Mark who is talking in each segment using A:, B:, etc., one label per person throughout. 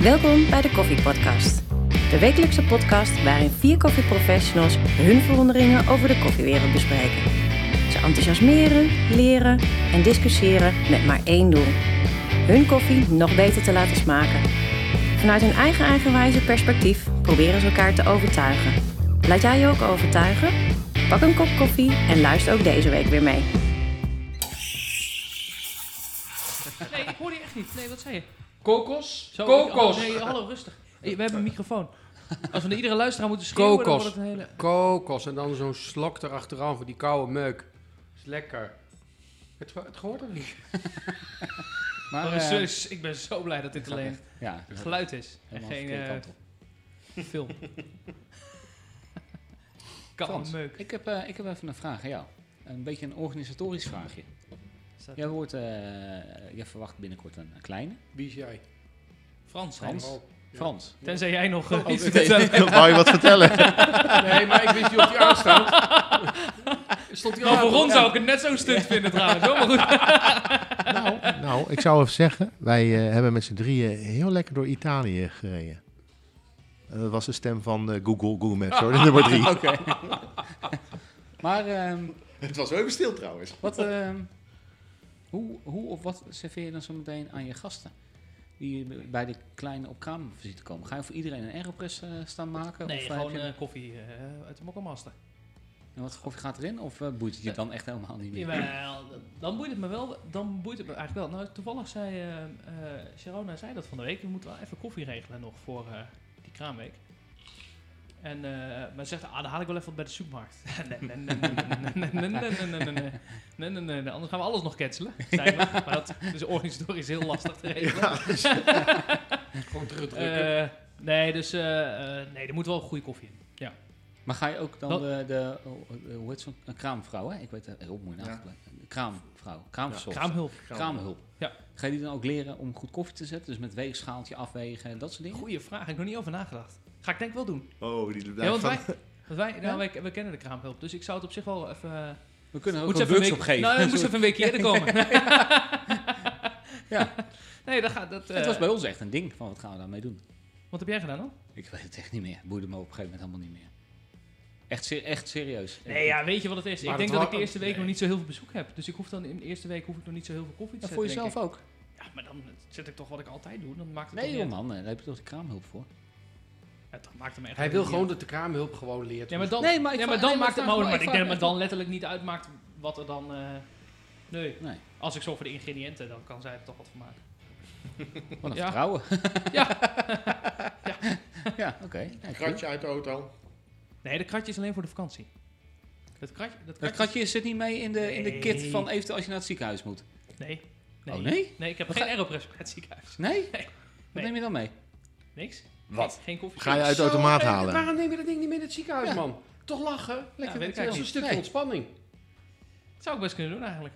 A: Welkom bij de Koffie Podcast. De wekelijkse podcast waarin vier koffieprofessionals hun verwonderingen over de koffiewereld bespreken. Ze enthousiasmeren, leren en discussiëren met maar één doel: hun koffie nog beter te laten smaken. Vanuit hun eigen eigenwijze perspectief proberen ze elkaar te overtuigen. Laat jij je ook overtuigen? Pak een kop koffie en luister ook deze week weer mee.
B: Nee, ik hoor je echt niet. Nee, wat zei je?
C: Kokos?
B: Zo,
C: Kokos!
B: oh, nee, hallo, rustig. Hey, we hebben een microfoon. Als we naar iedere luisteraar moeten schreeuwen, dan
C: Kokos.
B: wordt het een hele...
C: Kokos en dan zo'n slok erachteraan voor die koude meuk. Is lekker. Het, het gehoord of niet?
D: Maar
B: Oh,
D: eh,
B: zus, ik ben zo blij dat dit
D: gaat
B: alleen
D: echt. ja,
B: het geluid is. En
D: helemaal
B: geen
D: verkeerde
B: eh,
D: kant op.
B: film. Kan
D: Frans,
B: meuk.
D: Ik heb, eh, ik heb even een vraag aan jou. Een beetje een organisatorisch vraagje.
B: Staat-
D: Jij, wordt, eh, jij verwacht binnenkort een, een kleine.
C: Wie is jij?
B: Frans, Frans.
D: Frans.
C: Oh, ja.
D: Frans.
B: Tenzij jij nog eh,
C: Oh,
B: iets
C: oké.
B: te vertellen hebt.
E: Wou je wat vertellen?
C: Nee, maar ik wist niet of die aanstaat. Stond die
B: Nou,
C: aan?
B: voor ons zou ik het net zo stunt vinden trouwens. hoor, Maar goed.
E: nou, nou, ik zou even zeggen, wij eh, hebben met z'n drieën heel lekker door Italië gereden. En dat was de stem van eh, Google, Google Maps, hoor, de nummer drie.
D: Oké. maar ehm,
E: Het was wel even stil trouwens.
D: wat, ehm, hoe, hoe of wat serveer je dan zo meteen aan je gasten? Die bij de kleine op kamervisite komen. Ga je voor iedereen een aeropress eh, staan maken?
B: Nee,
D: of, eh,
B: gewoon
D: heb je-
B: eh, koffie eh, uit de mokkelmaster.
D: en wat voor koffie gaat erin? Of eh, boeit het je dan echt helemaal niet meer?
B: Jawel, dan boeit het me wel. Dan boeit het me eigenlijk wel. Nou, toevallig zei eh eh, Sharona zei dat van de week. We moeten wel even koffie regelen nog voor eh, die kraamweek. En, eh, maar ze zegt, ah, dan haal ik wel even wat bij de supermarkt. Nee, nee, nee, nee, nee, nee, nee, nee, nee, nee, nee, nee, nee, nee, nee. Anders gaan we alles nog cancelen. zei ze. Maar dat is dus organisatorisch heel lastig te regelen.
C: Gewoon terugdrukken.
B: Eh, nee, dus eh, eh, nee, er moet wel goede koffie in. Ja.
D: Maar ga je ook dan
B: Dat-
D: de, de, oh, eh, hoe heet zo'n een kraamvrouw, hè? Ik weet het heel mooi naam. Kraamvrouw, kraamverzorg.
B: Kraamhulp.
D: Kraamhulp.
B: Ja.
D: Ga je die dan ook leren om goed koffie te zetten? Dus met weegschaaltje afwegen en dat soort dingen?
B: Goeie vraag, ik heb nog niet over nagedacht. Ga ik denk ik wel doen.
E: Oh, die
B: Ja, want
E: van-
B: wij, want wij, nou, wij, wij kennen de kraamhulp, dus ik zou het op zich wel even... eh,
D: We kunnen ook
B: moet
D: een
B: even
D: workshop
B: week-
D: geven.
B: Nou, we moest
D: Sorry.
B: even een weekje eerder komen.
D: Ja.
B: Nee, dat gaat... Dat, eh,
D: het was bij ons echt een ding van wat gaan we daarmee doen?
B: Wat heb jij gedaan dan?
D: Ik weet het echt niet meer. Boeide me op een gegeven moment helemaal niet meer. Echt, ser- echt serieus.
B: Nee, ja, weet je wat het is?
C: Maar
B: ik denk
C: dat
B: dat
C: wa-
B: ik de eerste week
C: nee.
B: nog niet zo heel veel bezoek heb. Dus ik hoef dan in de eerste week hoef ik nog niet zo heel veel koffie te
D: En
B: zetten.
D: voor
B: denk
D: jezelf
B: ik.
D: ook?
B: Ja, maar dan zet ik toch wat ik altijd doe. Dan maakt het
D: Nee
B: toch
D: joh
B: niet uit.
D: man, eh, daar heb je toch de kraamhulp voor?
B: Ja, dat maakt het me echt
C: Hij
B: niet
C: wil
B: uit.
C: gewoon dat de kraamhulp gewoon leert.
B: Ja, maar dan,
D: Nee, maar ik
B: ja, maar
D: vraag-
B: dan
D: nee, maar
B: maakt
D: ik
B: het me
D: vraag-
B: maar ik
D: ik
B: denk dat
D: vraag-
B: het dan letterlijk niet uitmaakt wat er dan... eh, nee,
D: Nee.
B: als ik zorg voor de ingrediënten, dan kan zij er toch wat van maken.
D: Wat een
B: Ja.
D: vertrouwen.
B: Ja.
D: ja, oké. Nee, cool.
C: Kratje uit de auto.
B: Nee, dat kratje is alleen voor de vakantie. Dat kratje... Dat
D: Dat
B: kratje,
D: kratje zit niet mee in de, in de kit
B: Nee.
D: van eventueel als je naar het ziekenhuis moet.
B: Nee.
D: Oh, nee?
B: Nee, ik heb
D: Wat
B: geen aeropress bij het ziekenhuis.
D: Nee? Wat
B: Nee.
D: neem je dan mee?
B: Niks.
D: Wat?
B: Geen koffie.
E: Ga je uit de automaat
C: Zo, eh,
E: halen.
C: Waarom neem je dat ding niet mee naar het ziekenhuis,
D: Ja.
C: man? Toch lachen? Lekker.
B: weet ik
C: dat is
B: eigenlijk
C: een
B: niet.
C: stukje
D: Nee.
C: ontspanning.
B: Dat zou ik best kunnen doen eigenlijk.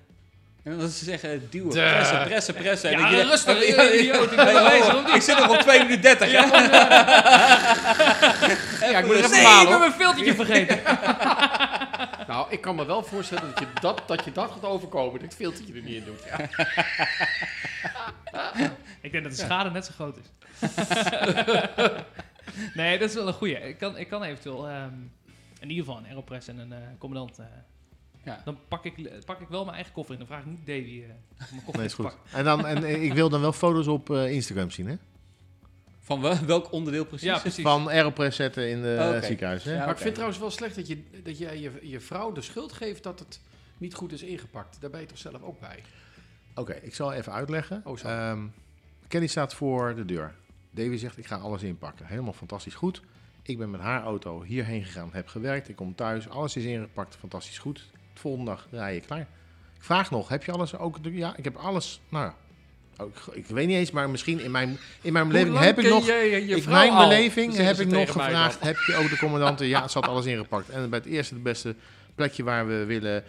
D: En dan ze zeggen duwen,
C: Duh.
D: pressen, pressen, pressen. En
B: Ja,
D: ik denk,
B: rustig,
D: ja, oh. ja,
B: idioot, ik
D: ja,
B: ben
D: ja,
B: bezig,
D: ja,
B: of
D: Ik zit nog op 2 minuten 30. Ja,
C: Ja, ik moet er even
B: Nee,
C: halen,
B: ik ben
C: hoor.
B: mijn filtertje vergeten.
C: Nou, ik kan me wel voorstellen dat je dat, dat, je dat gaat overkomen. Dat filtertje er niet in doet. Ja.
B: ik denk dat de schade net zo groot is. nee, dat is wel een goeie. Ik kan, ik kan eventueel ehm, in ieder geval een aeropress en een eh, commandant. eh,
D: Ja.
B: Dan pak ik, pak ik wel mijn eigen koffer in. Dan vraag ik niet Davy eh, om mijn koffer
E: Nee,
B: te
E: is goed.
B: pakken.
E: En, dan, en eh, ik wil dan wel foto's op eh, Instagram zien, hè?
D: Van wel- welk onderdeel precies?
B: Ja, precies.
E: Van Aeropress zetten in de
D: Oh, oké.
E: eh, ziekenhuis, hè?
D: Ja.
C: Maar ik
D: oké.
C: vind trouwens wel slecht dat je, dat je, je je vrouw de schuld geeft dat het niet goed is ingepakt. Daar ben je toch zelf ook
E: Nou,
C: bij?
E: Oké, ik zal even uitleggen.
C: Oh, zo.
E: Ehm, Kenny staat voor de deur. Davy zegt, ik ga alles inpakken. Helemaal fantastisch goed. Ik ben met haar auto hierheen gegaan, heb gewerkt. Ik kom thuis, alles is ingepakt, fantastisch goed. De volgende dag rij je klaar. Ik vraag nog, heb je alles ook? Ja, ik heb alles. Nou, ja. Oh, ik, ik weet niet eens, maar misschien in mijn, in mijn beleving
C: Hoe lang
E: heb ik
C: ken
E: nog...
C: jij je
E: in
C: vrouw
E: mijn
C: al?
E: beleving
C: Zeggen
E: heb
C: ze
E: ik nog
C: tegen mij dan.
E: gevraagd, heb je ook de commandante? Ja, ze had alles ingepakt. En bij het eerste de beste plekje waar we willen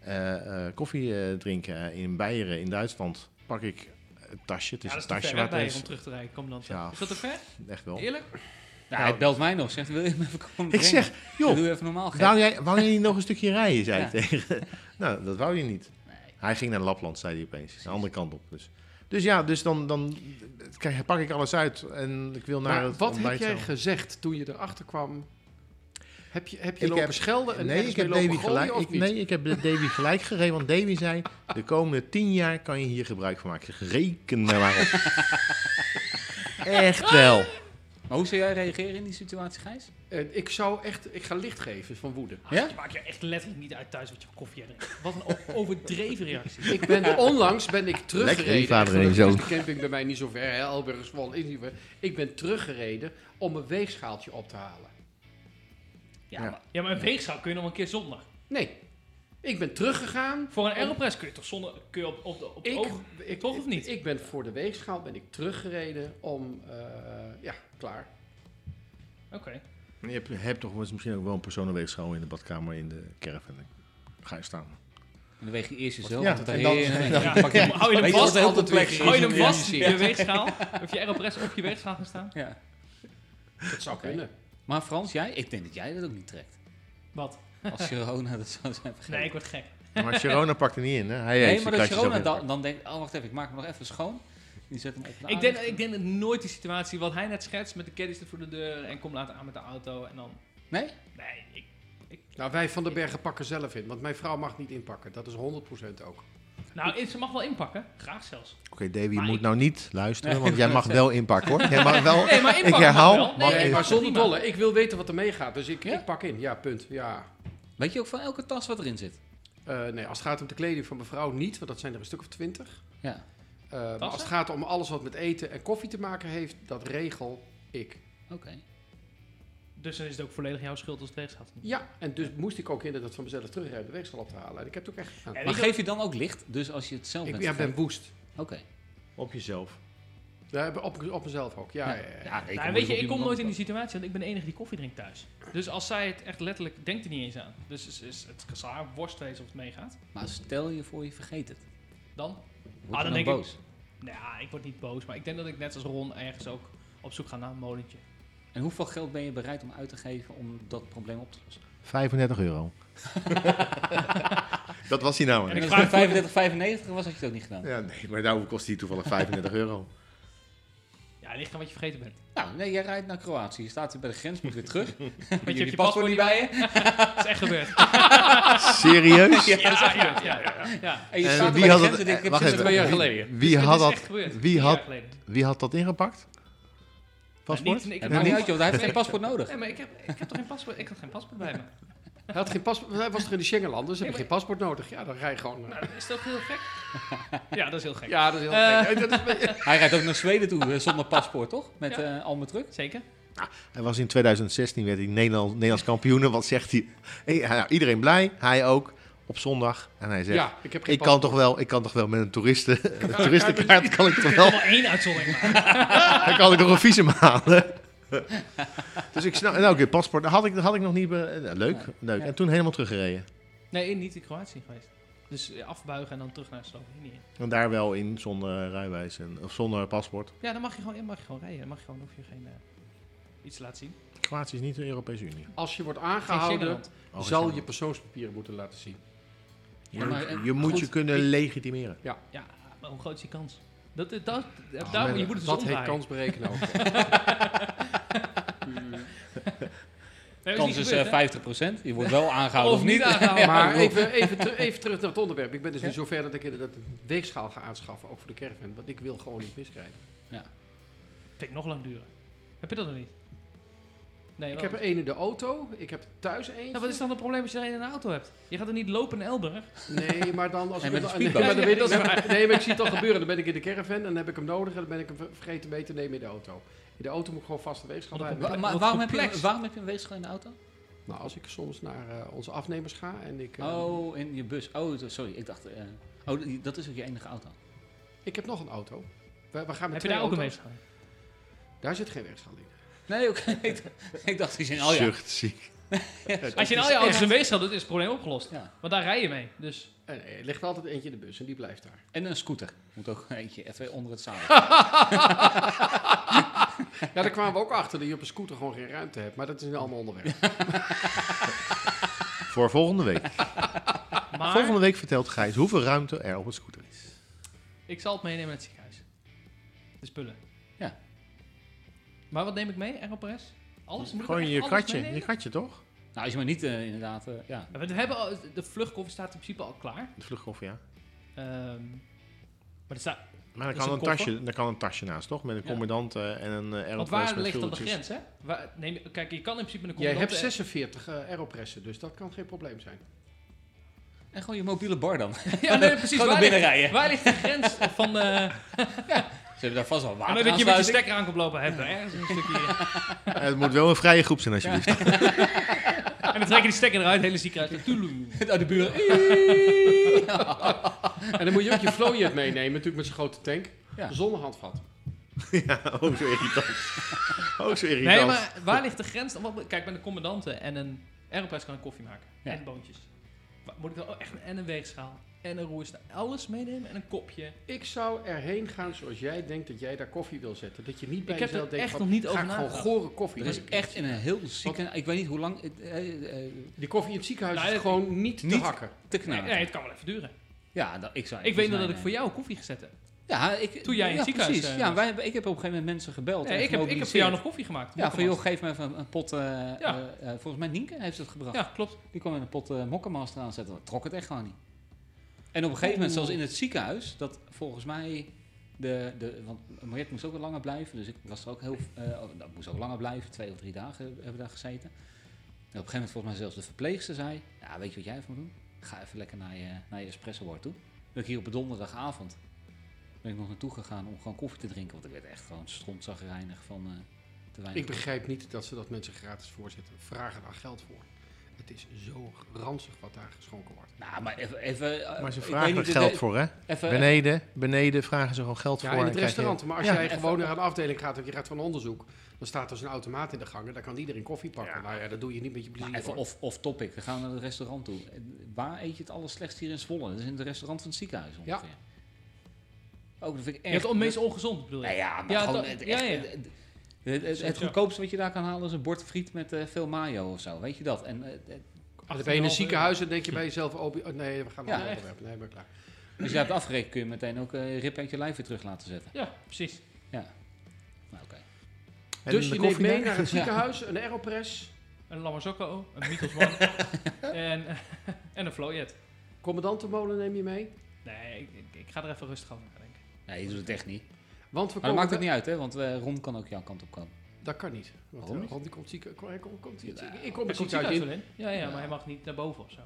E: eh, eh, koffie eh, drinken eh, in Beieren in Duitsland, pak ik het tasje. Het is
B: Ja, dat
E: een
B: is te
E: tasje
B: ver
E: waar
B: hè,
E: het
B: bij je
E: is.
B: om terug te rijden. Commandant.
E: Ja.
B: Is dat te ver?
E: Echt wel.
B: Eerlijk?
D: Nou, hij belt mij nog, zegt wil je me even komen
E: Ik zeg,
D: joh.
E: joh,
D: Doe even normaal gek.
E: wou jij, wou jij niet nog een stukje rijden, zei
D: Ja.
E: ik tegen. Nou, dat wou je niet.
D: Nee.
E: Hij ging naar Lapland, zei hij opeens. De andere kant op. Dus. Dus ja, dus dan, dan krijg- pak ik alles uit en ik wil naar
C: Maar
E: het
C: wat heb
E: ontbijt
C: jij
E: zo.
C: gezegd toen je erachter kwam? Heb je, heb je
E: Ik
C: lopen
E: heb-
C: schelden en
E: Nee,
C: ergens
E: ik heb
C: mee lopen
E: Davy
C: gooien
E: gelijk.
C: of
E: Ik,
C: niet?
E: nee, ik heb Davy gelijk gegeven, want Davy zei: de komende tien jaar kan je hier gebruik van maken. Ik zeg, Reken er maar op. Echt wel.
D: Maar hoe zou jij reageren in die situatie, Gijs?
C: Eh, ik zou echt... Ik ga licht geven van woede.
B: Ah,
E: Ja?
B: Je maakt je echt letterlijk niet uit thuis wat je voor koffie hebt. Wat een o- overdreven reactie.
C: Ik ben onlangs ben ik teruggereden.
E: Lekker, je vader en je
C: Gelukkig is
E: zoon.
C: de camping bij mij niet zo ver. hè, Elburg, Zwolle, is niet ver. Ik ben teruggereden om een weegschaaltje op te halen.
B: Ja,
E: Ja.
B: Maar, ja, maar een weegschaal kun je nog een keer zonder.
C: Nee, ik ben teruggegaan.
B: Voor een aeropress kun je toch zonder kun je op, op, de- op het
C: Ik,
B: oog.
C: ik,
B: toch of niet?
C: Ik ben voor de weegschaal ben ik teruggereden om... eh, ja, klaar.
B: Oké.
E: Je hebt, hebt toch wel eens misschien ook wel een personenweegschaal in de badkamer in de caravan. Ga je staan.
D: En dan weeg je eerst jezelf.
E: Ja,
D: want dan
E: en
D: ben je-
E: dan-
D: nee,
E: dan-
D: dan pak je hem.
B: Hou je hem
D: Weet je wat
B: vast,
D: de heel complex
B: hou je hem
D: is?
B: vast, je weegschaal. Of je aeropress op je weegschaal gaan staan.
D: Ja.
C: Dat zou kunnen.
D: Maar Frans, jij? Ik denk dat jij dat ook niet trekt.
B: Wat?
D: Als Sharona dat zou zijn vergeten.
B: Nee, ik word gek.
E: Maar Sharona pakt er niet in, hè? Hij
D: Nee,
E: heeft
D: maar
E: de
D: dat
E: kratjes ook
D: Sharona
E: in de
D: dan, dan denkt, oh wacht even, ik maak hem nog even schoon. Die zet hem op de
B: Ik denk,
D: aarde.
B: ik denk dat nooit die situatie wat hij net schetst met de caddies er voor de deur en kom later aan met de auto en dan...
D: Nee?
B: Nee, ik, ik,
C: Nou, wij van den Bergen pakken zelf in. Want mijn vrouw mag niet inpakken. Dat is 100% ook.
B: nou, ze mag wel inpakken. Graag zelfs.
E: Oké, Davy, je
B: Maar
E: moet
B: ik-
E: nou niet luisteren,
D: Nee,
E: want jij
D: ik
E: mag
D: wil
E: wel inpakken hoor. Jij mag wel.
B: Nee, maar
E: ik
B: inpakken mag
E: herhaal,
B: wel. Nee,
E: mag
B: nee,
C: Nee,
E: even.
C: maar zonder
B: prima.
C: dolle. Ik wil weten wat er meegaat. Dus ik,
D: Ja?
C: ik pak in. Ja, punt. Ja.
D: Weet je ook van elke tas wat erin zit?
C: Eh, nee, als het gaat om de kleding van mijn vrouw niet. Want dat zijn er een stuk of twintig.
D: Ja.
C: Eh, maar als het gaat om alles wat met eten en koffie te maken heeft, dat regel ik.
D: Oké.
B: Dus dan is het ook volledig jouw schuld als het weegschaal er niet is.
C: Ja, en dus moest ik ook inderdaad van mezelf terugrijden de weegschaal op te halen. En ik heb het ook echt gedaan.
B: En
D: Maar
B: weet je
D: geef je dan ook licht? Dus als je het zelf
C: Ik
D: bent
C: ja, ben
D: vergeten?
C: woest.
D: Oké.
E: Op jezelf.
C: Ja, op, op mezelf ook, ja. ja, ja.
D: Ja,
B: Nou, weet je, ik kom nooit in die situatie, want ik ben de enige die koffie drinkt thuis. Dus als zij het echt letterlijk denkt er niet eens aan. Dus is, is het zal haar worst wezen of het meegaat.
D: Maar stel je voor je vergeet het.
B: Dan?
D: Word
B: dan
D: je dan
B: denk ik-
D: boos?
B: Nou, ja, ik word niet boos, maar ik denk dat ik net als Ron ergens ook op zoek ga naar een molentje.
D: En hoeveel geld ben je bereid om uit te geven om dat probleem op te lossen?
E: 35 euro. dat was hij nou.
B: En ik
D: En als
B: vraag-
D: het 35,95 was, had je het ook niet gedaan.
E: Ja, nee, maar daarom kost hij toevallig 35 euro.
B: Ja, ligt aan wat je vergeten bent.
D: Nou, nee, jij rijdt naar Kroatië. Je staat hier bij de grens, moet weer terug.
B: je
D: Met
B: hebt
D: je
B: je
D: paspoort
B: paspoort
D: niet bij je.
B: Dat is echt gebeurd.
E: Serieus?
B: Ja, ja, ja. ja, ja. ja.
D: En je
E: En
D: staat er
E: wie
D: bij de
E: had
D: grens
E: het-
D: en denkt,
E: eh,
D: het
E: wacht
D: zit er
E: even.
D: twee jaar
E: Wie-
D: geleden.
E: Wie
B: Dit
E: had
B: is
E: dat,
B: echt gebeurd.
E: wie
B: Vier
E: had-
B: jaar geleden.
E: wie had dat ingepakt?
B: Nee,
E: Paspoort?
B: niet, ik
D: Het
B: heb
D: maakt
B: geen
D: niet uit, joh, want hij heeft geen
B: Nee.
D: paspoort nodig.
B: Nee, maar ik heb, ik heb toch geen paspoort? Ik had geen paspoort bij me.
C: Hij, had geen paspoort, hij was er in de Schengenland, dus heb je
B: Nee,
C: geen paspoort nodig. Ja, dan ga je gewoon... eh,
B: Nou, is dat heel gek? Ja, dat is heel gek.
C: ja, dat is heel
B: Eh.
C: gek. Eh, dat is-
D: Hij rijdt ook naar Zweden toe eh, zonder paspoort, toch? Met eh al mijn truck.
B: Zeker.
E: Hij was in 2016 werd hij Nederlands, Nederlands kampioen. En Wat zegt hij? Hey, hij- nou, iedereen blij, hij ook. Op zondag. En hij zegt:
C: ja, ik heb geen
E: ik, kan
C: paspoort.
E: toch wel, ik kan toch wel met een, toeristen, een toeristenkaart kan ik toch wel
B: Allemaal één uitzondering maken.
E: Dan kan ik nog een visum halen. dus ik snap, nou oké, paspoort, dat had ik, dat had ik nog niet, be- eh, leuk,
D: Nee.
E: leuk.
D: Ja.
E: En toen helemaal teruggereden.
B: Nee, niet in Kroatië geweest. Dus eh, afbuigen en dan terug naar Slovenië.
E: En daar wel in zonder rijwijs en, of zonder paspoort.
B: Ja, dan mag je gewoon, mag je gewoon rijden. Dan mag je gewoon, hoef je geen eh, iets te laten zien.
E: Kroatië is niet de Europese Unie.
C: Als je wordt
B: Geen
C: aangehouden,
B: Schengenland.
E: Oh, is
C: zal
E: dat-
C: je persoonspapieren moeten laten zien.
E: Je,
D: Ja, maar, eh,
E: je moet
D: goed,
E: je kunnen
D: ik-
E: legitimeren.
B: Ja, maar hoe groot is die kans? Dat, eh, dat, dat,
C: Ah,
B: daar,
C: maar
B: je moet het dus
C: dat heet
B: omdraaien.
C: kans berekenen ook.
B: Nee, dat
D: Kans
B: niet
D: is
B: gebeurd,
D: eh,
B: hè?
D: 50%. Je wordt wel aangehouden of,
B: Of
D: niet.
B: niet Oh, aangehouden. Ja,
C: maar
D: ik bedoel-
C: even, even, ter- even terug naar het onderwerp. Ik ben dus
D: Ja?
C: nu zover dat ik inderdaad een weegschaal ga aanschaffen, ook voor de caravan. Want ik wil gewoon niet miskrijgen.
B: Vind ik nog lang duren. Heb je dat nog niet? Nee,
C: Ik
B: wel.
C: heb er één in de auto, ik heb thuis één.
B: Nou, wat is dan het probleem als je er een in de auto hebt? Je gaat er niet lopen in Elburg.
C: Nee, maar dan als
D: En
C: ik hem-
D: met een
C: nee,
D: speedboot.
C: maar dan
B: Ja,
C: weet
B: dat is
C: ik- maar- nee, maar ik zie het al gebeuren. Dan ben ik in de caravan en dan heb ik hem nodig en dan ben ik hem ver- vergeten mee te nemen in de auto. In de auto moet ik gewoon vast de weegschaal
B: Wat een
C: bij. me
D: Wa-
B: Wat
D: maar waarom heb, je,
B: complex.
D: waarom heb je een weegschaal in de auto?
C: hebben. Nou, als ik soms naar eh, onze afnemers ga en ik. eh,
D: Oh, in je bus. Oh, t- sorry. Ik dacht... eh, oh, die- dat is ook je enige auto.
C: Ik heb nog een auto. We, we gaan met
B: Heb je
C: twee
B: daar ook een
C: auto's.
B: weegschaal? in?
C: Daar zit geen weegschaal in.
D: Nee, oké. ik dacht- ik dacht, die zijn
E: Oh
D: al ja.
E: Zucht, ziek.
B: Als je in al
C: is
B: je auto's
C: echt-
B: een weegschaal doet, is het probleem opgelost.
D: ja.
B: Want daar rij je mee. Dus
C: Eh, nee, er ligt altijd eentje in de bus en die blijft daar.
D: En een scooter. Moet ook eentje even onder het zadel.
C: Ja, daar kwamen we ook achter dat je op een scooter gewoon geen ruimte hebt. Maar dat is een ander onderwerp.
E: Voor volgende week.
B: Maar
E: Volgende week vertelt Gijs hoeveel ruimte er op het scooter is.
B: ik zal het meenemen naar het ziekenhuis. de spullen.
D: Ja.
B: Maar wat neem ik mee, Aeropress? Alles? Moet ik
E: Gewoon
B: echt
E: je
B: alles
E: kratje,
B: meenemen?
E: je kratje toch?
D: Nou, als je maar niet eh, inderdaad... eh, ja.
B: Ja, want we hebben al, de vluchtkoffer staat in principe al klaar.
E: De vluchtkoffie, ja.
B: Ehm, maar er staat...
E: Maar
B: Is
E: dan kan,
B: een
E: een
B: koffer?
E: tasje, dan kan een tasje naast, toch? Met een
D: Ja.
E: commandant eh, en een eh,
B: Want
E: aeropress
B: waar
E: met
B: ligt dan de
E: vulletjes.
B: grens, hè? Waar, neem, kijk, je kan in principe een
C: Jij
B: commandant...
C: hebt 46 eh, aeropressen, dus dat kan geen probleem zijn.
D: En gewoon je mobiele bar dan.
B: ja, nee, precies. Waar
D: Gewoon naar
B: ligt,
D: binnen rijden.
B: waar ligt de grens van... eh
D: Ze hebben daar vast wel
B: Maar
D: water
B: dat je met je stekker aan komt lopen, heb je ergens een stukje.
E: Eh, het moet wel een vrije groep zijn, alsjeblieft.
B: en dan trek je die stekker eruit, hele ziekenhuis. Toeloe.
D: Uit de buren.
C: En dan moet je ook je flowjet meenemen, natuurlijk met zijn grote tank.
D: Ja.
C: Zonder handvat.
E: Ja, ook zo irritant. ook zo irritant.
B: Nee, maar waar ligt de grens? dan? Wat- Kijk, bij de commandanten en een aeropress kan ik koffie maken.
D: Ja.
B: En boontjes. Wa- Moet ik dan ook echt een- en een weegschaal en een roerstaal. Alles meenemen en een
D: Nou,
B: kopje.
C: Ik zou erheen gaan zoals jij denkt dat jij daar koffie wil zetten. Dat je niet bij
B: Ik heb
C: jezelf
B: er
C: denkt
B: echt
C: van,
B: nog niet
C: ga
B: over
C: ik gewoon
B: nagedacht.
C: gore koffie.
D: Er is
C: drinken.
D: echt in een heel zieke... Ik weet niet hoe lang... het, eh, eh,
C: Die koffie in het ziekenhuis
B: Nou,
C: is
B: dat-
C: gewoon niet, te
D: niet-
C: hakken.
D: Te
B: Nee,
D: knagen.
B: nee, het kan wel even duren.
D: Ja, dat, ik zou...
B: Ik weet nog dat
D: nee,
B: ik voor
D: nee.
B: jou koffie gezet heb.
D: Ja, ik...
B: Toen jij in het
D: ja,
B: ziekenhuis,
D: precies.
B: eh,
D: ja,
B: was.
D: wij, hebben- ik heb op een gegeven moment mensen gebeld.
B: Nee,
D: en
B: ik, heb, ik heb voor jou
D: gemobiliseerd.
B: nog koffie gemaakt.
D: Ja, van joh,
B: Mokkenmast.
D: geef me even een pot... eh, eh, eh, volgens mij Nienke heeft het gebracht.
B: Ja, klopt.
D: Die kwam met een pot eh, mokkenmaster aanzetten. Dat trok het echt gewoon niet. En op een gegeven moment,
B: Oeh.
D: zoals in het ziekenhuis, dat volgens mij. De, de, want Mariette moest ook wel langer blijven, dus ik was er ook heel. eh, oh, dat moest ook langer blijven, twee of drie dagen hebben we daar gezeten. En op een gegeven moment, volgens mij, zelfs de verpleegster zei: Ja, weet je wat jij even moet doen? Ga even lekker naar je, naar je espresso bar toe. Ben ik hier op een donderdagavond ben ik nog naartoe gegaan om gewoon koffie te drinken, want ik werd echt gewoon strontzagrijnig van eh, te weinig.
C: Ik begrijp niet dat ze dat mensen gratis voorzetten. Vragen daar geld voor. Het is zo ranzig wat daar geschonken wordt.
D: Nou, maar even. even eh,
E: Maar ze
D: ik
E: vragen
D: weet
E: er
D: niet,
E: geld
D: de-
E: voor, hè?
D: Even,
E: Beneden, beneden vragen ze gewoon geld
C: Ja,
E: voor.
C: in
E: en
C: het
E: krijg je-
C: restaurant. Maar als
E: Ja.
C: jij gewoon naar een afdeling gaat en je gaat van onderzoek, dan staat er zo'n automaat in de gang en daar kan iedereen koffie pakken.
E: Ja.
C: Nou ja, dat doe je niet met je
D: Maar
C: plezier.
D: even
C: hoor.
D: off, off topic, we gaan naar het restaurant toe. Eh, Waar eet je het allerslechtst hier in Zwolle? Dat is in het restaurant van het ziekenhuis ongeveer. Ook dat vind ik
B: Je
D: echt...
B: hebt het meest ongezond, bedoel je?
D: Nou ja, maar
B: Ja,
D: gewoon
B: dat-
D: het,
B: ja,
D: echt-
B: ja.
D: het- het- het- het
B: Zo, ja.
D: goedkoopste wat je daar kan halen is een bord friet met eh, veel mayo of zo. Weet je dat? En, eh, eh,
C: Als ben je in een ziekenhuis en denk je bij jezelf, obi- oh, nee, we gaan
D: Ja,
C: naar een
B: echt.
C: onderwerp. Nee, maar klaar.
D: als je daar hebt afgerekend kun je meteen ook eh, je rib uit je lijf weer terug laten zetten.
B: Ja, precies.
D: Ja. Nou, oké.
E: En
C: dus
E: de
C: je neemt
E: koffie
C: mee
E: daar?
C: naar het ziekenhuis, een aeropress,
B: Een Lamarzocco, een Beatles One en, en een Floyet.
C: commandantenmolen neem je mee.
B: Nee, ik, ik, ik ga er even rustig over nadenken.
D: Nee, je doet het echt niet.
C: Want we
D: Maar dat
C: komen
D: maakt
C: te-
D: ook niet uit, hè? Want eh, Ron kan ook jouw kant op komen.
C: Dat kan niet. Want
D: Waarom
C: eh,
D: niet?
C: Ron die komt zieken. Kom, kom, komt hier-
D: Ja,
C: ik kom
B: Er komt
C: het ziekenhuis in.
B: ziekenhuis wel in. Ja, ja,
D: Ja.
B: maar hij mag niet naar boven of zo.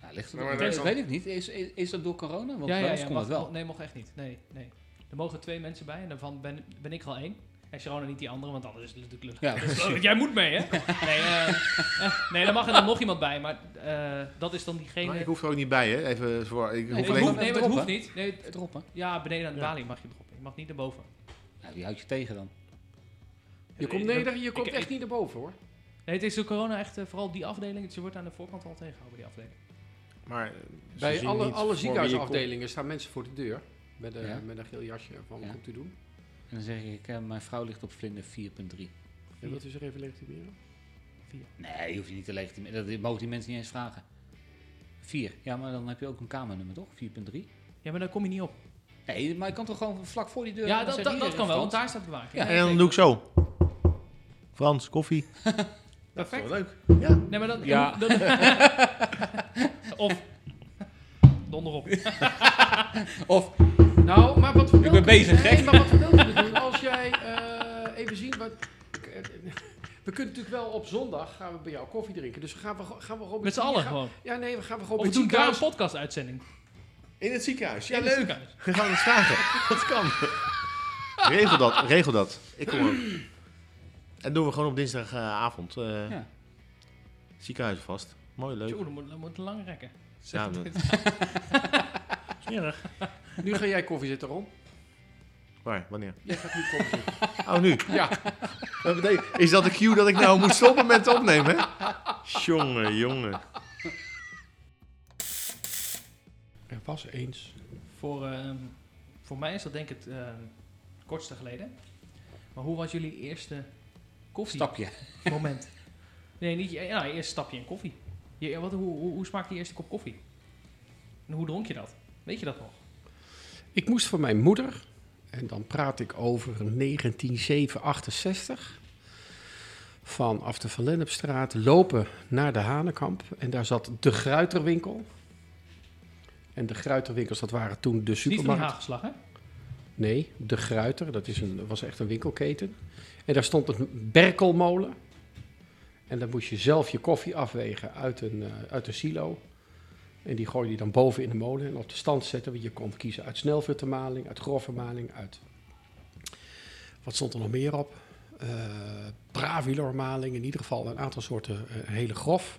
D: Ja, ligt
B: Nou,
D: er
E: Maar
D: dat
E: daar
D: weet,
E: is dan-
D: weet ik niet. Is, is, is dat door corona? Want bij ons kon
B: mag-
D: het wel.
B: mo- Nee, mocht echt niet. Nee, nee. Er mogen twee mensen bij en daarvan ben, ben ik er al één. En Sharon niet die andere, want anders is het natuurlijk lullig.
D: Ja,
B: Dus, oh, jij moet mee, hè? Nee, eh, eh, nee, daar mag er dan nog iemand bij, maar eh, dat is dan diegene...
E: Maar ik hoef er ook niet bij, hè? Even voor, ik
D: Nee,
E: hoef
B: nee,
D: ik
E: alleen...
B: het hoeft,
D: Even
B: nee, maar het
D: droppen.
B: hoeft niet. Nee, het-
D: Droppen.
B: ja, beneden aan de
E: Ja.
B: balie mag je droppen. Je mag niet naar boven.
D: Nou, wie houdt je tegen dan?
C: Je komt,
B: Nee,
C: nee, daar- je komt
B: ik-
C: echt niet naar boven hoor.
B: Nee, het is door corona echt eh, vooral die afdeling. Ze wordt aan de voorkant al tegengehouden, die afdeling.
E: Maar eh, ze
C: Bij
E: zien
C: alle,
E: niet voor
C: alle
E: wie je
C: ziekenhuisafdelingen staan mensen voor de deur. Met, een-
D: Ja.
C: met een geel jasje van wat
D: Ja.
C: moet u doen.
D: En dan zeg ik, eh, mijn vrouw ligt op vlinder 4.3.
C: En wilt u zich even legitimeren?
D: Nee, je hoeft je niet te legitimeren. Dat mogen die mensen niet eens vragen. 4. Ja, maar dan heb je ook een kamernummer, toch? 4.3.
B: Ja, maar daar kom je niet op.
D: Nee, maar je kan toch gewoon vlak voor die deur...
B: Ja,
D: en
B: dat,
D: zeg
B: dat,
D: hier
B: dat
D: even
B: kan wel, want
D: Frans.
B: daar staat bewaking.
E: komt. En dan doe ik zo. Frans, koffie.
B: Perfect.
E: leuk.
B: Nee, maar dat...
D: Ja.
B: dat- of... Donder op.
D: Of,
C: Nou, maar wat we
D: ik ben bezig,
C: Nee,
D: gek.
C: maar wat we wilden doen, als jij eh, even zien wat... We kunnen natuurlijk wel op zondag gaan we bij jou koffie drinken. Dus gaan we, gewoon- gaan we gewoon...
B: Met z'n
C: gaan-
B: allen gewoon.
C: Ja, nee, we gaan we gewoon
B: Of we
C: met
B: doen daar een
C: ziekenhuis-
B: podcast-uitzending.
E: In het ziekenhuis. Ja,
B: In het
E: leuk.
B: ziekenhuis.
E: We gaan het vragen. Dat kan. Regel dat, regel dat. Ik kom ook. En doen we gewoon op dinsdagavond. eh,
D: Ja.
E: Ziekenhuis vast. Mooi, leuk.
B: Tjoe, dat moet, dat moet lang rekken.
E: Ja, dat- Smerig.
C: Nu ga jij koffie zitten, Ron.
E: Waar, wanneer?
C: Jij gaat nu koffie zitten.
E: Oh, nu.
C: Ja.
E: Wat betekent- Is dat de cue dat ik nou moet stoppen met het opnemen? Jongen, jongen.
C: Er was eens...
B: Voor, ehm, voor mij is dat denk ik het ehm, kortste geleden. Maar hoe was jullie eerste
D: stapje.
B: koffiemoment? nee, niet je, nou, je eerste stapje in koffie. Je, wat, hoe, hoe, hoe smaakt die eerste kop koffie? En hoe dronk je dat? Weet je dat nog?
C: Ik moest voor mijn moeder En dan praat ik over 1968. Vanaf de Van Lennepstraat lopen naar de Hanenkamp. En daar zat de Gruiterwinkel. En de Gruiterwinkels, dat waren toen de
B: Niet van de
C: supermarkt.
B: haagslag, hè?
C: Nee, De Gruiter, dat is een, was echt een winkelketen. En daar stond een berkelmolen. En dan moest je zelf je koffie afwegen uit een, eh, uit een silo. En die gooide je dan boven in de molen en op de stand zetten. Want je kon kiezen uit snelvertemaling, uit grove maling, uit... Wat stond er nog meer op? Eh Bravilormaling, in ieder geval een aantal soorten eh, hele grof.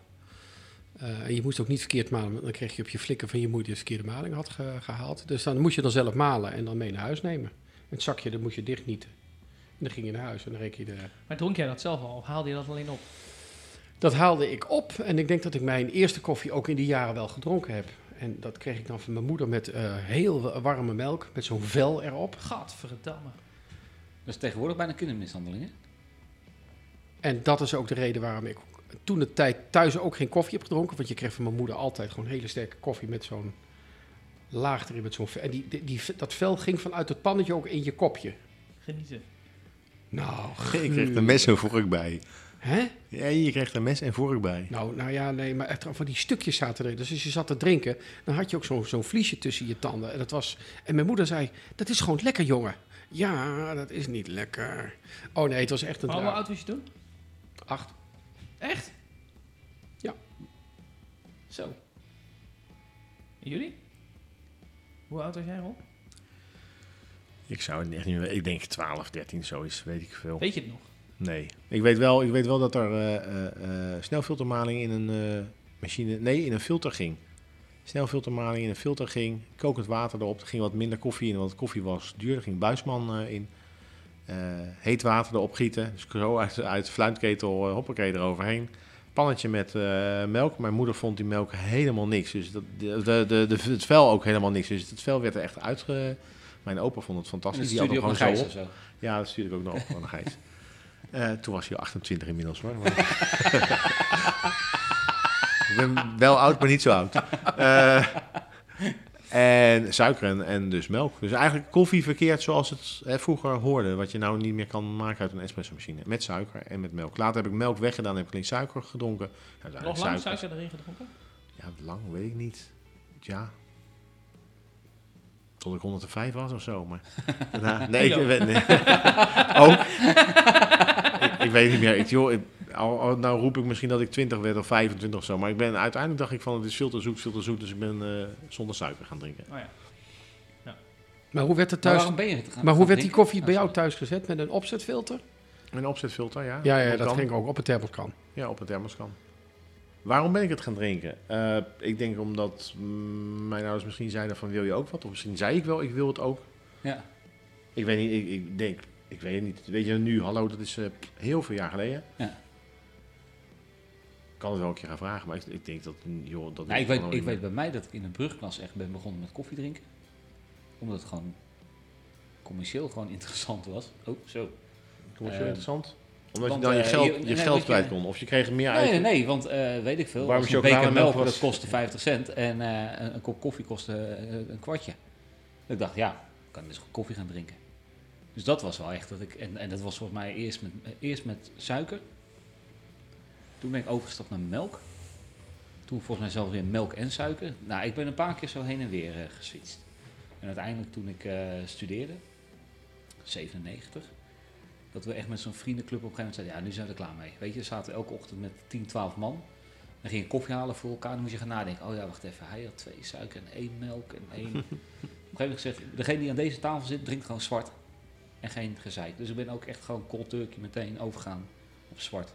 C: Eh, en je moest ook niet verkeerd malen, want dan kreeg je op je flikken van je moeder de verkeerde maling had ge- gehaald. Dus dan moest je dan zelf malen en dan mee naar huis nemen. Het zakje, dat moest je dichtnieten. En dan ging je naar huis en dan reek je de...
B: Maar dronk jij dat zelf al? Of haalde je dat alleen op?
C: Dat haalde ik op en ik denk dat ik mijn eerste koffie ook in die jaren wel gedronken heb. En dat kreeg ik dan van mijn moeder met eh, heel warme melk, met zo'n vel erop.
B: Gadverdamme.
D: Dat is tegenwoordig bijna kindermishandeling, hè?
C: En dat is ook de reden waarom ik toen de tijd thuis ook geen koffie heb gedronken. Want je kreeg van mijn moeder altijd gewoon hele sterke koffie met zo'n laag erin. Met zo'n, ve- en die, die, die- dat vel ging vanuit het pannetje ook in je kopje.
B: Genieten.
C: Nou,
E: Je kreeg een mes en vork bij.
C: Hè?
E: Ja, je kreeg een mes en vork bij.
C: Nou, nou ja, nee, maar echt van die stukjes zaten erin. Dus als je zat te drinken, dan had je ook zo'n zo'n vliesje tussen je tanden. En, dat was, en mijn moeder zei, dat is gewoon lekker, jongen. Ja, dat is niet lekker. Oh nee, het was echt een
B: Maar hoe
C: draak.
B: oud was je toen?
C: Acht.
B: Echt?
C: Ja.
B: Zo. En jullie? Hoe oud was jij, Rob?
E: Ik zou het echt niet weten. Ik denk 12, 13, zoiets. Weet ik veel.
B: Weet je het nog?
E: Nee. Ik weet wel, ik weet wel dat er eh, eh, eh, snelfiltermaling in een eh, machine... Nee, in een filter ging. Snelfiltermaling in een filter ging. Kokend water erop. Er ging wat minder koffie in, want koffie was duur. Er ging buisman eh, in. Eh, heet water erop gieten. Dus zo uit, uit fluitketel, eh, hoppakee eroverheen. Pannetje met eh, melk. Mijn moeder vond die melk helemaal niks. Dus dat, de, de, de, de- het vel ook helemaal niks. Dus het vel werd er echt uitge... Mijn opa vond het
D: In de
E: fantastisch. Die had hem
D: studio op een
E: gewoon zo
D: gijs
E: op.
D: of zo.
E: Ja, dat stuurde ik ook nog op aan de Gijs. Eh, toen was hij al 28 inmiddels hoor. Maar... ik ben wel oud, maar niet zo oud. Eh, en suiker en, en dus melk. Dus eigenlijk koffie verkeerd zoals het hè, vroeger hoorde. Wat je nou niet meer kan maken uit een espresso machine. Met suiker en met melk. Later heb ik melk weggedaan, heb ik alleen suiker gedronken. Ja, uiteindelijk
B: Nog lang suiker erin gedronken?
E: Ja, lang weet ik niet. Ja. Tot ik 105 was of zo. Maar... daarna- nee, ik,
B: Kilo.
E: weet- nee. Ook. ik, ik weet niet meer. Ik, joh, ik, al, al- nou roep ik misschien dat ik 20 werd of 25 of zo. Maar ik ben, uiteindelijk dacht ik van het is veel te zoet, veel te zoet. Dus ik ben eh, zonder suiker gaan drinken.
B: Oh ja.
C: Maar hoe werd het
D: Maar
C: thuis...
D: waarom ben je het gaan-
C: Maar hoe
D: gaan
C: werd die
D: drinken?
C: koffie bij
D: Oh,
C: jou thuis gezet? Met een opzetfilter?
E: Een opzetfilter, ja.
C: Ja, ja dat
E: kan.
C: ging ook op een thermoskan.
E: Ja, op een thermoskan. Waarom ben ik het gaan drinken? Eh, ik denk omdat mm, mijn ouders misschien zeiden van wil je ook wat? Of misschien zei ik wel, ik wil het ook.
D: Ja.
E: Ik weet niet, ik, ik denk, ik weet het niet. Weet je, nu, hallo, dat is eh, heel veel jaar geleden.
D: Ja.
E: Ik kan het wel een keer gaan vragen, maar ik, ik denk dat, mm, joh, dat...
D: Nou, ik,
E: weet
D: weet,
E: gewoon
D: ik
E: niet
D: weet bij mij dat ik in de brugklas echt ben begonnen met koffie drinken. Omdat het gewoon commercieel gewoon interessant was. Oh, zo.
E: meer. Commercieel
D: eh,
E: interessant. Omdat
D: want,
E: je dan je
D: eh,
E: geld,
D: je-
E: je,
D: nee,
E: geld
D: want je-
E: kwijt kon. Of je kreeg er meer uit.
D: Nee, nee, nee, want eh, weet ik veel.
E: Warme
D: Als een beker
E: chocolademelk
D: melk,
E: was-
D: dat kostte 50 cent. En eh, een, een kop koffie kostte eh, een kwartje. Ik dacht, ja, ik kan dus goed koffie gaan drinken. Dus dat was wel echt dat ik... En, en dat was volgens mij eerst met, eh, eerst met suiker. Toen ben ik overgestapt naar melk. Toen volgens mij zelfs weer melk en suiker. Nou, ik ben een paar keer zo heen en weer eh geswitcht. En uiteindelijk toen ik eh, studeerde, 97, dat we echt met zo'n vriendenclub op een gegeven moment zeiden, ja, nu zijn we er klaar mee. Weet je, dan zaten we elke ochtend met 10, 12 man. Dan ging je koffie halen voor elkaar, dan moest je gaan nadenken. Oh ja, wacht even, hij had twee suiker en één melk en één... op een gegeven moment gezegd, degene die aan deze tafel zit, drinkt gewoon zwart. En geen gezeik. Dus ik ben ook echt gewoon cold turkey meteen overgaan op zwart.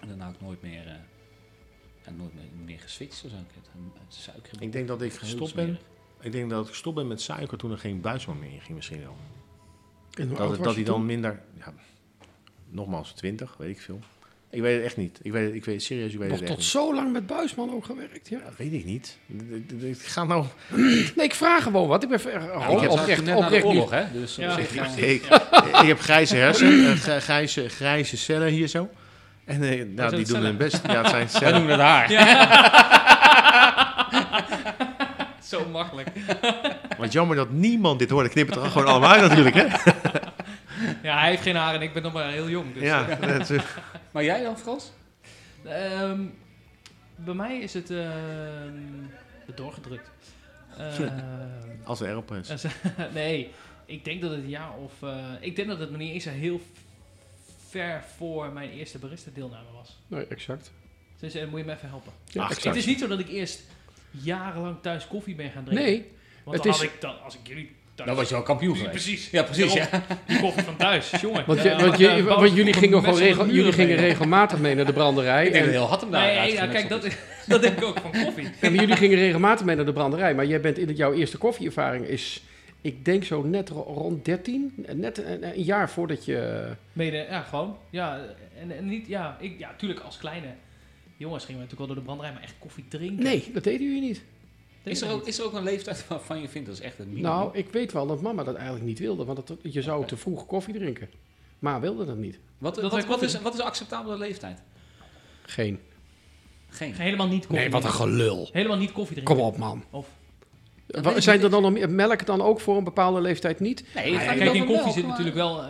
D: En daarna ook nooit meer, eh ja, nooit meer, meer geswitcht. Dus ook het, het suiker.
E: Ik denk dat ik
D: Heel
E: gestopt ben.
D: smerig.
E: Ik denk dat ik gestopt ben met suiker toen er geen buisman meer in ging misschien wel.
C: En hoe oud
E: Dat,
C: was
E: dat
C: je
E: hij
C: toen?
E: dan minder... Ja, nogmaals, 20, weet ik veel. Ik weet het echt niet. Ik weet, het- ik weet serieus, ik weet
C: Nog
E: het echt
C: tot
E: niet.
C: zo lang met Buisman ook gewerkt, ja.
E: Dat weet ik niet. D- d- d- Ik ga nou...
C: Nee, ik vraag gewoon wat. Ik ben ver- oh,
D: Nou, ik heb
C: oprecht,
D: oprecht, net na de
C: oprecht
D: oorlog, hè? Dus
B: Ja.
D: op zich, eh,
E: Ik, ik heb grijze hersenen, eh, grij- grijze, grijze cellen hier zo. En eh, nou,
B: dat
E: die doen
B: cellen?
E: hun best. Ja, het zijn
D: wij
E: cellen.
D: noemen het haar.
B: Zo makkelijk.
E: Want jammer dat niemand dit hoorde. Knip het er gewoon allemaal uit natuurlijk, hè?
B: Ja, hij heeft geen haar en ik ben nog maar heel jong. Dus,
E: ja, dat is-
D: Maar jij dan, Frans?
B: eh, ehm, bij mij is het ehm, doorgedrukt. Ehm,
E: als Aeropress.
B: nee, ik denk dat het een jaar of... eh, ik denk dat het me niet eens heel ver voor mijn eerste barista deelname was.
C: Nee, exact.
B: Dus eh, moet je me even helpen.
C: Ja,
E: Ach,
C: exact.
B: Het is niet zo dat ik eerst jarenlang thuis koffie ben gaan drinken.
C: Nee,
B: Want
C: het
B: dan
C: is-
B: had ik dan, als ik jullie thuis...
D: Dan was je al kampioen
B: Ja,
D: geweest.
B: Precies.
D: Ja, precies. Ja.
B: Die koffie van thuis, jongen.
C: want,
B: Ja,
C: je, want,
B: eh,
C: je,
B: Bas
C: want jullie
B: kon
C: gingen,
B: een mes
C: gewoon
B: op de
C: regel,
B: muur
C: jullie gingen Nou,
B: mee.
C: regelmatig mee naar de branderij.
D: Ik denk
C: En,
D: dat heel had hem daar
B: Nee,
D: uit
B: ja,
D: geknutseld
B: kijk, dat,
D: is.
B: dat denk ik ook van koffie.
C: ja, maar jullie gingen regelmatig mee naar de branderij. Maar jij bent in jouw eerste koffieervaring is, ik denk zo net ro- rond 13. Net een, een jaar voordat je...
B: Mede, ja, gewoon. Ja, en, en niet, ja, ik, ja, tuurlijk als kleine jongens gingen we natuurlijk wel door de branderij, maar echt koffie drinken.
C: Nee, dat deden jullie niet.
B: Dat
D: Is er,
B: ik
D: ook, is er ook een leeftijd waarvan je vindt dat is echt een minimum?
C: Nou, ik weet wel dat mama dat eigenlijk niet wilde. Want dat, je zou
D: Oké.
C: te vroeg koffie drinken. Maar wilde dat niet.
D: wat,
B: dat
D: wat,
B: wij
D: wat,
B: koffie
D: is, wat is een acceptabele leeftijd?
C: Geen.
D: Geen.
B: Helemaal niet koffie
C: Nee, wat een
B: drinken.
C: gelul.
B: Helemaal niet koffie drinken.
C: Kom op, man.
B: Of,
D: Dat
C: Wa-
D: weet ik
C: Zijn
D: niet.
C: er dan nog meer- melk dan ook voor een bepaalde leeftijd niet?
D: Nee, het gaat niet
B: kijk, in
D: over
B: koffie
D: melk,
B: zit
D: maar-
B: natuurlijk wel eh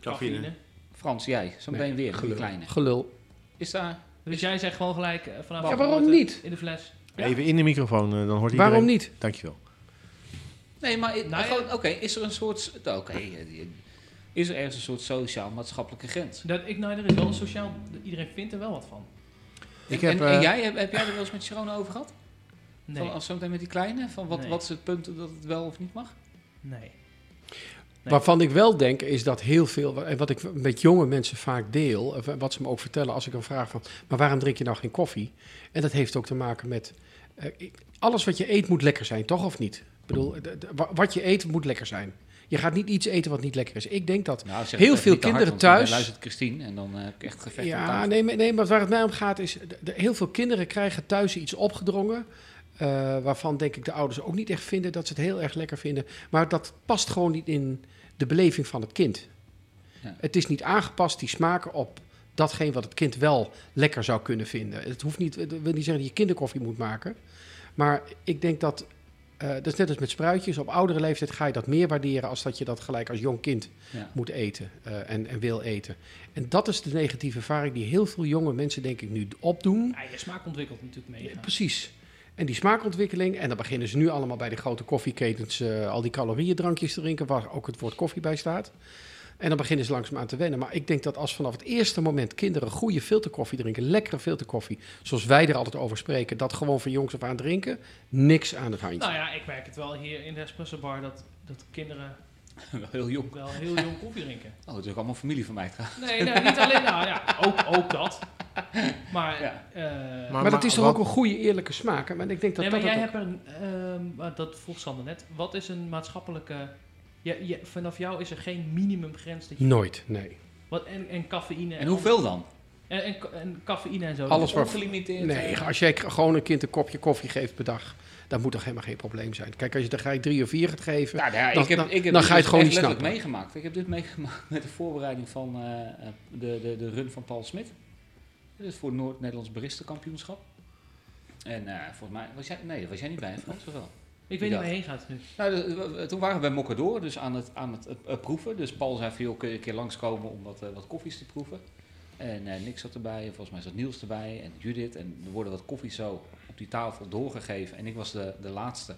E: Cafeïne.
B: cafeïne.
D: Frans, jij, zo meteen weer
C: gelul.
D: kleine.
C: Gelul.
D: Is daar...
B: Dus jij zegt gewoon gelijk eh, vanavond...
C: Ja, waarom
B: wordt het
C: niet?
B: In de fles.
E: Even in de microfoon, eh, dan hoort iedereen.
C: Waarom niet?
E: Dankjewel.
D: Nee, maar i-
B: Nou,
D: gewoon, oké, is er een soort... Oké, eh, je- is er ergens een soort sociaal-maatschappelijke grens?
B: Dat, ik, nou, er is wel een sociaal... Iedereen vindt er wel wat van.
E: Ik
D: en,
E: heb,
D: en
E: eh,
D: jij, heb, heb jij er wel eens met Sharon over gehad?
B: Nee.
D: Van, als zometeen met die kleine? Van wat,
B: Nee.
D: wat is het punt dat het wel of niet mag?
B: Nee. Nee.
C: Waarvan ik wel denk is dat heel veel, en wat ik met jonge mensen vaak deel, en wat ze me ook vertellen als ik dan vraag van, maar waarom drink je nou geen koffie? En dat heeft ook te maken met, eh, ik- alles wat je eet moet lekker zijn, toch of niet? Ik bedoel, d- d- wa- wat je eet moet lekker zijn. Je gaat niet iets eten wat niet lekker is. Ik denk dat,
D: Nou, zeg
C: Heel
D: het
C: veel
D: niet te hard,
C: kinderen
D: want dan
C: thuis-
D: luistert Christine en dan eh, heb ik echt gevecht aan
C: ja,
D: tafel.
C: nee, maar- nee, maar waar het mij om gaat is, d- d- heel veel kinderen krijgen thuis iets opgedrongen, eh, waarvan denk ik de ouders ook niet echt vinden dat ze het heel erg lekker vinden. Maar dat past gewoon niet in de beleving van het kind.
D: Ja.
C: Het is niet aangepast, die smaken op datgene wat het kind wel lekker zou kunnen vinden. Het hoeft niet, het wil niet zeggen dat je kinderkoffie moet maken. Maar ik denk dat, eh, dat is net als met spruitjes, op oudere leeftijd ga je dat meer waarderen als dat je dat gelijk als jong kind
D: Ja.
C: moet eten eh, en, en wil eten. En dat is de negatieve ervaring die heel veel jonge mensen denk ik nu opdoen.
B: Ja, je smaak ontwikkelt natuurlijk mee.
C: Ja, Precies. En die smaakontwikkeling, en dan beginnen ze nu allemaal bij de grote koffieketens eh, al die calorieëndrankjes te drinken, waar ook het woord koffie bij staat. En dan beginnen ze langzaamaan te wennen. Maar ik denk dat als vanaf het eerste moment kinderen goede filterkoffie drinken, lekkere filterkoffie, zoals wij er altijd over spreken, dat gewoon van jongs af aan drinken, niks aan het handje.
B: Nou ja, ik merk het wel hier in de Espresso Bar dat, dat kinderen
D: Wel heel jong.
B: wel heel jong koffie drinken.
D: Oh, het is ook allemaal familie van mij trouwens.
B: Nee, nee niet alleen. Nou ja, ook, ook dat. Maar,
D: Ja.
B: eh,
E: Maar-
C: maar, dat is toch
E: wat-
C: ook een goede, eerlijke smaak. hè? Maar ik denk dat
B: nee,
C: dat
B: maar jij
C: het ook-
B: hebt een, ehm, maar dat vroeg Sander net, wat is een maatschappelijke, ja, ja, vanaf jou is er geen minimumgrens. Dat je,
C: Nooit, nee.
B: wat, en, en cafeïne.
D: En hoeveel dan?
B: En, en, ca- en cafeïne en zo.
C: Alles waar-
D: Ongelimiteerd?
C: Nee, als jij k- gewoon een kind een kopje koffie geeft per dag, dat moet toch helemaal geen probleem zijn. Kijk, als je er gelijk drie of vier gaat geven,
D: Ja, nou ja,
C: Dan-
D: ik heb,
C: dan-
D: ik
C: dan
D: heb dit
C: ga je het
D: dus
C: gewoon
D: echt
C: niet
D: letterlijk
C: snappen.
D: meegemaakt. Ik heb dit meegemaakt met de voorbereiding van eh, eh, de, de, de run van Paul Smit. Dat is voor het Noord-Nederlands Baristenkampioenschap. En eh, volgens mij, was jij, nee, was jij niet bij, Frans, of wel?
B: Ik weet niet waar je heen gaat nu.
D: Nou, de- we- we- toen waren we bij Mokkadoor, dus aan het, aan het eh, eh, proeven. Dus Paul zei veel kun je een keer langskomen om wat, eh, wat koffies te proeven. En eh Nick zat erbij, en volgens mij zat Niels erbij en Judith. En er worden wat koffies zo op die tafel doorgegeven. En ik was de, de laatste.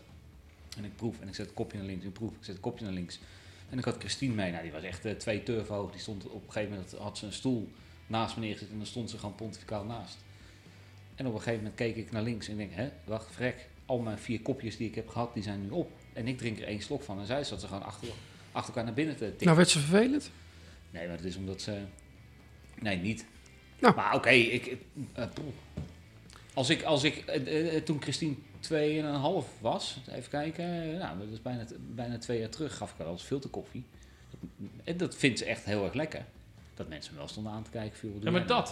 D: En ik proef en ik zet het kopje naar links, ik proef, ik zet het kopje naar links. En ik had Christine mee, nou die was echt eh, twee turf hoog. Die stond op een gegeven moment, had ze een stoel naast me neergezet en dan stond ze gewoon pontificaal naast. En op een gegeven moment keek ik naar links en ik denk, hè, wacht, vrek. Al mijn vier kopjes die ik heb gehad, die zijn nu op. En ik drink er één slok van. En zij zat ze gewoon achter, achter elkaar naar binnen te tikken.
C: nou werd ze vervelend.
D: Nee, maar het is omdat ze... Nee, niet.
C: Nou.
D: Maar oké, ik... ik- eh, poeh. als ik, als ik eh, eh, toen Christine 2,5 was, even kijken, eh, nou, dat is bijna, t- bijna twee jaar terug, gaf ik haar als filterkoffie. En dat vindt ze echt heel erg lekker. Dat mensen me wel stonden aan te kijken. Viel,
B: Ja, maar dat.
D: Dat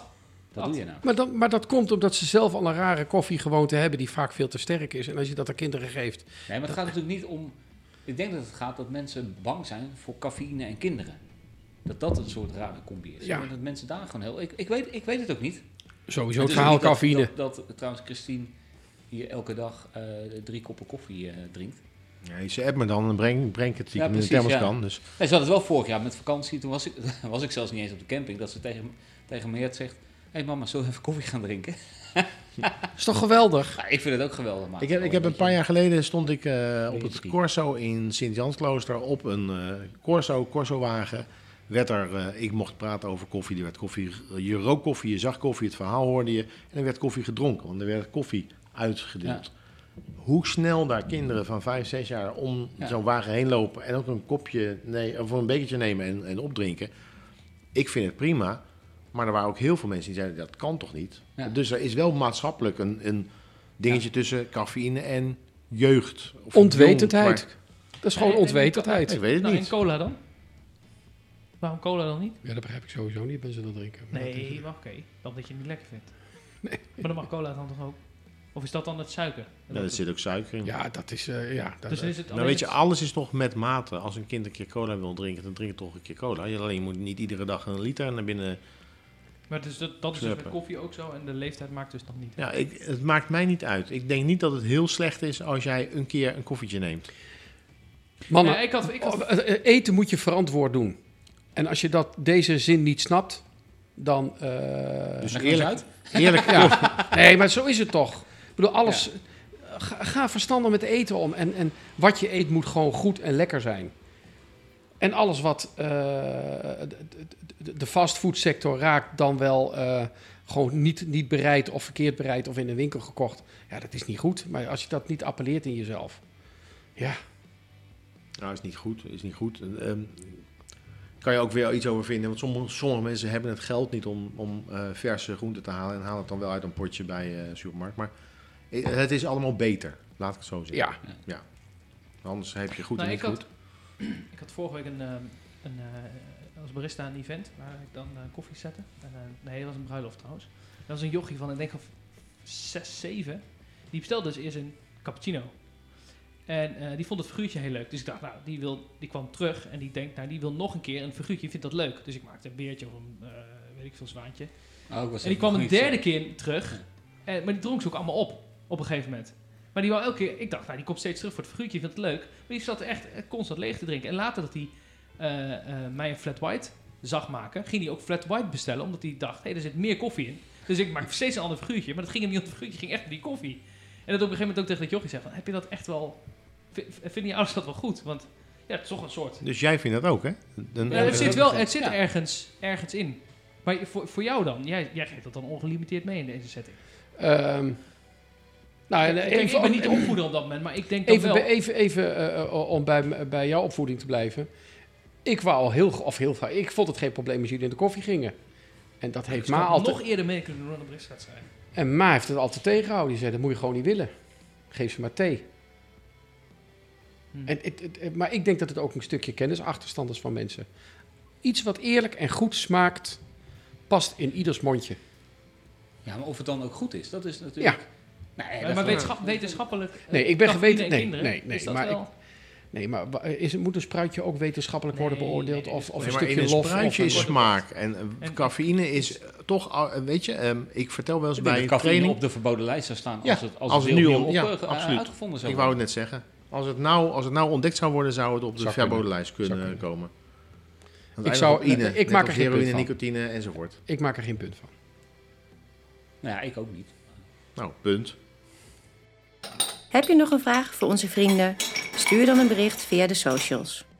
B: dat.
D: nou? doe je nou.
C: Maar, dan, maar dat komt omdat ze zelf al een rare koffiegewoonte hebben die vaak veel te sterk is. En als je dat aan kinderen geeft,
D: Nee, maar het gaat natuurlijk niet om. Ik denk dat het gaat dat mensen bang zijn voor cafeïne en kinderen. Dat dat een soort rare combi is.
C: Ja.
D: Maar Dat mensen daar gewoon heel. Ik, ik, weet, ik weet het ook niet.
C: sowieso
D: Het
C: het
D: is
C: verhaal
D: niet dat-
C: cafeïne.
D: Dat, dat, trouwens Christine hier elke dag eh, drie koppen koffie eh, drinkt.
E: Nee, ze app me dan en breng, breng ik het die
D: Ja,
E: ik in de
D: precies,
E: thermoskan. Dus
D: Nee, ze hadden het wel vorig jaar met vakantie. Toen was ik, was ik zelfs niet eens op de camping. Dat ze tegen, tegen Meert zegt... Hé hey mama, zullen we even koffie gaan drinken?
C: Is toch geweldig?
D: Ja, ik vind het ook geweldig. Maar
E: Ik heb, ik heb een paar jaar geleden stond ik eh, op het
D: Drie.
E: Corso in Sint-Jansklooster op een eh, Corso, Corso-wagen. Werd er, eh, ik mocht praten over koffie, er werd koffie, je rook koffie, je zag koffie, het verhaal hoorde je. En er werd koffie gedronken, want er werd koffie uitgedeeld. Hoe snel daar kinderen van 5, 6 jaar om
D: Ja.
E: zo'n wagen heen lopen en ook een kopje nee, of een bekertje nemen en, en opdrinken. Ik vind het prima, maar er waren ook heel veel mensen die zeiden dat kan toch niet.
D: Ja.
E: Dus er is wel maatschappelijk een, een dingetje tussen cafeïne en jeugd. Of
C: Ontwetendheid.
E: jong,
C: Dat is gewoon
B: Nee, nee, nee,
E: maar-
C: ontwetendheid.
E: ik weet het
B: Nou, en
E: niet.
B: cola dan? Waarom cola dan niet?
C: Ja, dat begrijp ik sowieso niet, mensen dat drinken. Maar dat
B: Nee,
C: is-
B: maar oké. Dan dat je het niet lekker vindt. Maar dan mag cola dan toch ook? Of is dat dan het suiker?
E: Ja, er zit ook suiker in.
C: Ja, dat is... eh, ja, dat,
B: dus dan is het
E: Nou
B: alleen
E: weet je,
B: het-
E: alles is toch met mate. Als een kind een keer cola wil drinken, dan drink het toch een keer cola. Je alleen moet niet iedere dag een liter naar binnen.
B: Maar dus dat, dat is dus met
E: Snuppen.
B: koffie ook zo. En de leeftijd maakt dus nog niet.
E: Ja, ik, het maakt mij niet uit. Ik denk niet dat het heel slecht is als jij een keer een koffietje neemt.
C: Mannen,
B: Nee, ik had, ik had,
C: Oh, eh, eh, eten moet je verantwoord doen. En als je dat, deze zin niet snapt, dan... eh,
E: Dus
D: Leg eens
E: eerlijk,
D: uit.
E: eerlijk,
C: ja. Nee, maar zo is het toch. Ik bedoel, alles... Ga, ga verstandig met eten om. En, en wat je eet moet gewoon goed en lekker zijn. En alles wat eh, de- de- de- de fastfoodsector raakt, dan wel eh, gewoon niet, niet bereid of verkeerd bereid of in een winkel gekocht. Ja, dat is niet goed. Maar als je dat niet appelleert in jezelf. Ja,
E: Nou, is niet goed. Is niet goed. En, ehm, kan je ook weer iets over vinden. Want sommige, sommige mensen hebben het geld niet om, om eh, verse groenten te halen. En halen het dan wel uit een potje bij eh, een supermarkt. Maar eh, het is allemaal beter. Laat ik het zo zeggen.
C: ja.
E: Anders heb je goed
B: Nou,
E: en
B: ik
E: niet
B: had,
E: goed.
B: ik had vorige week een, ehm, een, eh, als barista een event waar ik dan eh, koffie zette. En, eh, nee, dat was een bruiloft trouwens. Dat was een jochie van, ik denk van 6, 7. Die bestelde dus eerst een cappuccino. En eh, die vond het figuurtje heel leuk. Dus ik dacht, nou, die, wil, die kwam terug en die denkt, nou, die wil nog een keer een figuurtje. Die vindt dat leuk. Dus ik maakte een beertje of een, eh, weet ik veel, zwaantje.
D: Oh,
B: En
D: ik was
B: die
D: even
B: kwam een
D: nog
B: derde
D: niet
B: keer terug. En, maar die dronk ze ook allemaal op. Op een gegeven moment. Maar die wou elke keer... Ik dacht, nou, die komt steeds terug voor het figuurtje. Vindt het leuk. Maar die zat echt eh, constant leeg te drinken. En later dat hij eh, eh, mij een flat white zag maken... ging hij ook flat white bestellen. Omdat hij dacht, hé, hey, er zit meer koffie in. Dus ik maak steeds een ander figuurtje. Maar dat ging hem niet om het figuurtje. ging echt om die koffie. En dat op een gegeven moment ook tegen dat jochie zei van... Heb je dat echt wel... vi- v- Vinden je ouders dat wel goed? Want ja, het is toch een soort...
E: Dus jij vindt dat ook, hè? Dan-
B: Ja, het
D: dat
B: zit
D: heb
B: wel
D: ik
B: het zit
D: gezien. Ja.
B: ergens, ergens in. Maar voor, voor jou dan? Jij, jij geeft dat dan ongelimiteerd mee in deze setting.
C: Ehm, nou, en, eh,
B: Kijk,
C: even,
B: ik ben niet de opvoeder op dat moment, maar ik denk dat
C: even,
B: wel.
C: bij- even, even eh, eh, om bij, m- bij jouw opvoeding te blijven. Ik wou al heel, g- of heel vaak, ik vond het geen probleem als jullie in de koffie gingen. En dat heeft
B: Ik
C: Ma
B: zou
C: altijd,
B: nog eerder mee kunnen doen dan de Brits gaat zijn.
C: en Ma heeft het altijd tegengehouden. Die zei, dat moet je gewoon niet willen. Geef ze maar thee.
B: Hm.
C: En, het- het- het- maar ik denk dat het ook een stukje kennisachterstand is van mensen. Iets wat eerlijk en goed smaakt, past in ieders mondje.
D: gezegd. Ja, maar of het dan ook goed is, dat is natuurlijk... Nee, dat
B: maar
D: is wel-
B: wetenschap- wetenschappelijk. eh,
C: Nee, ik ben
B: dag
C: geweten-
B: iedereen
C: nee,
B: kinderen,
C: nee, nee,
B: is dat
C: maar
B: wel-
C: ik- Nee, maar wa- is, het- moet een spruitje ook wetenschappelijk worden
B: Nee,
C: beoordeeld?
B: nee,
C: Of,
B: nee,
C: of
E: Nee,
C: een
E: maar in
C: stukje
E: een
C: lof?
E: spruitje
C: of
E: is
C: een-
E: smaak. En, eh,
B: En-
E: cafeïne is eh, toch... al- eh, Weet je, ehm, ik vertel wel eens
D: Ik denk
E: bij
D: dat cafeïne
E: training...
D: op de verboden lijst zou staan
E: Ja,
D: als het, als
E: als
D: het
E: het nu
D: heel
E: al-
D: nieuw
E: ja,
D: opge- eh,
E: absoluut.
D: uitgevonden zou
E: Ik wou het
D: worden.
E: net zeggen. Als het nou, als het nou ontdekt zou worden, zou het op de
C: Zou kunnen.
E: verbodenlijst kunnen,
C: Zou kunnen.
E: komen. Want
C: Ik
E: eigenlijk
C: zou-
E: op ine,
C: ik
E: net
C: maak
E: als
C: er geen
E: heroïne,
C: punt van.
E: nicotine enzovoort.
C: Ik maak er geen punt van.
D: Nou ja, ik ook niet.
E: Nou, punt.
A: Heb je nog een vraag voor onze vrienden? Stuur dan een bericht via de socials.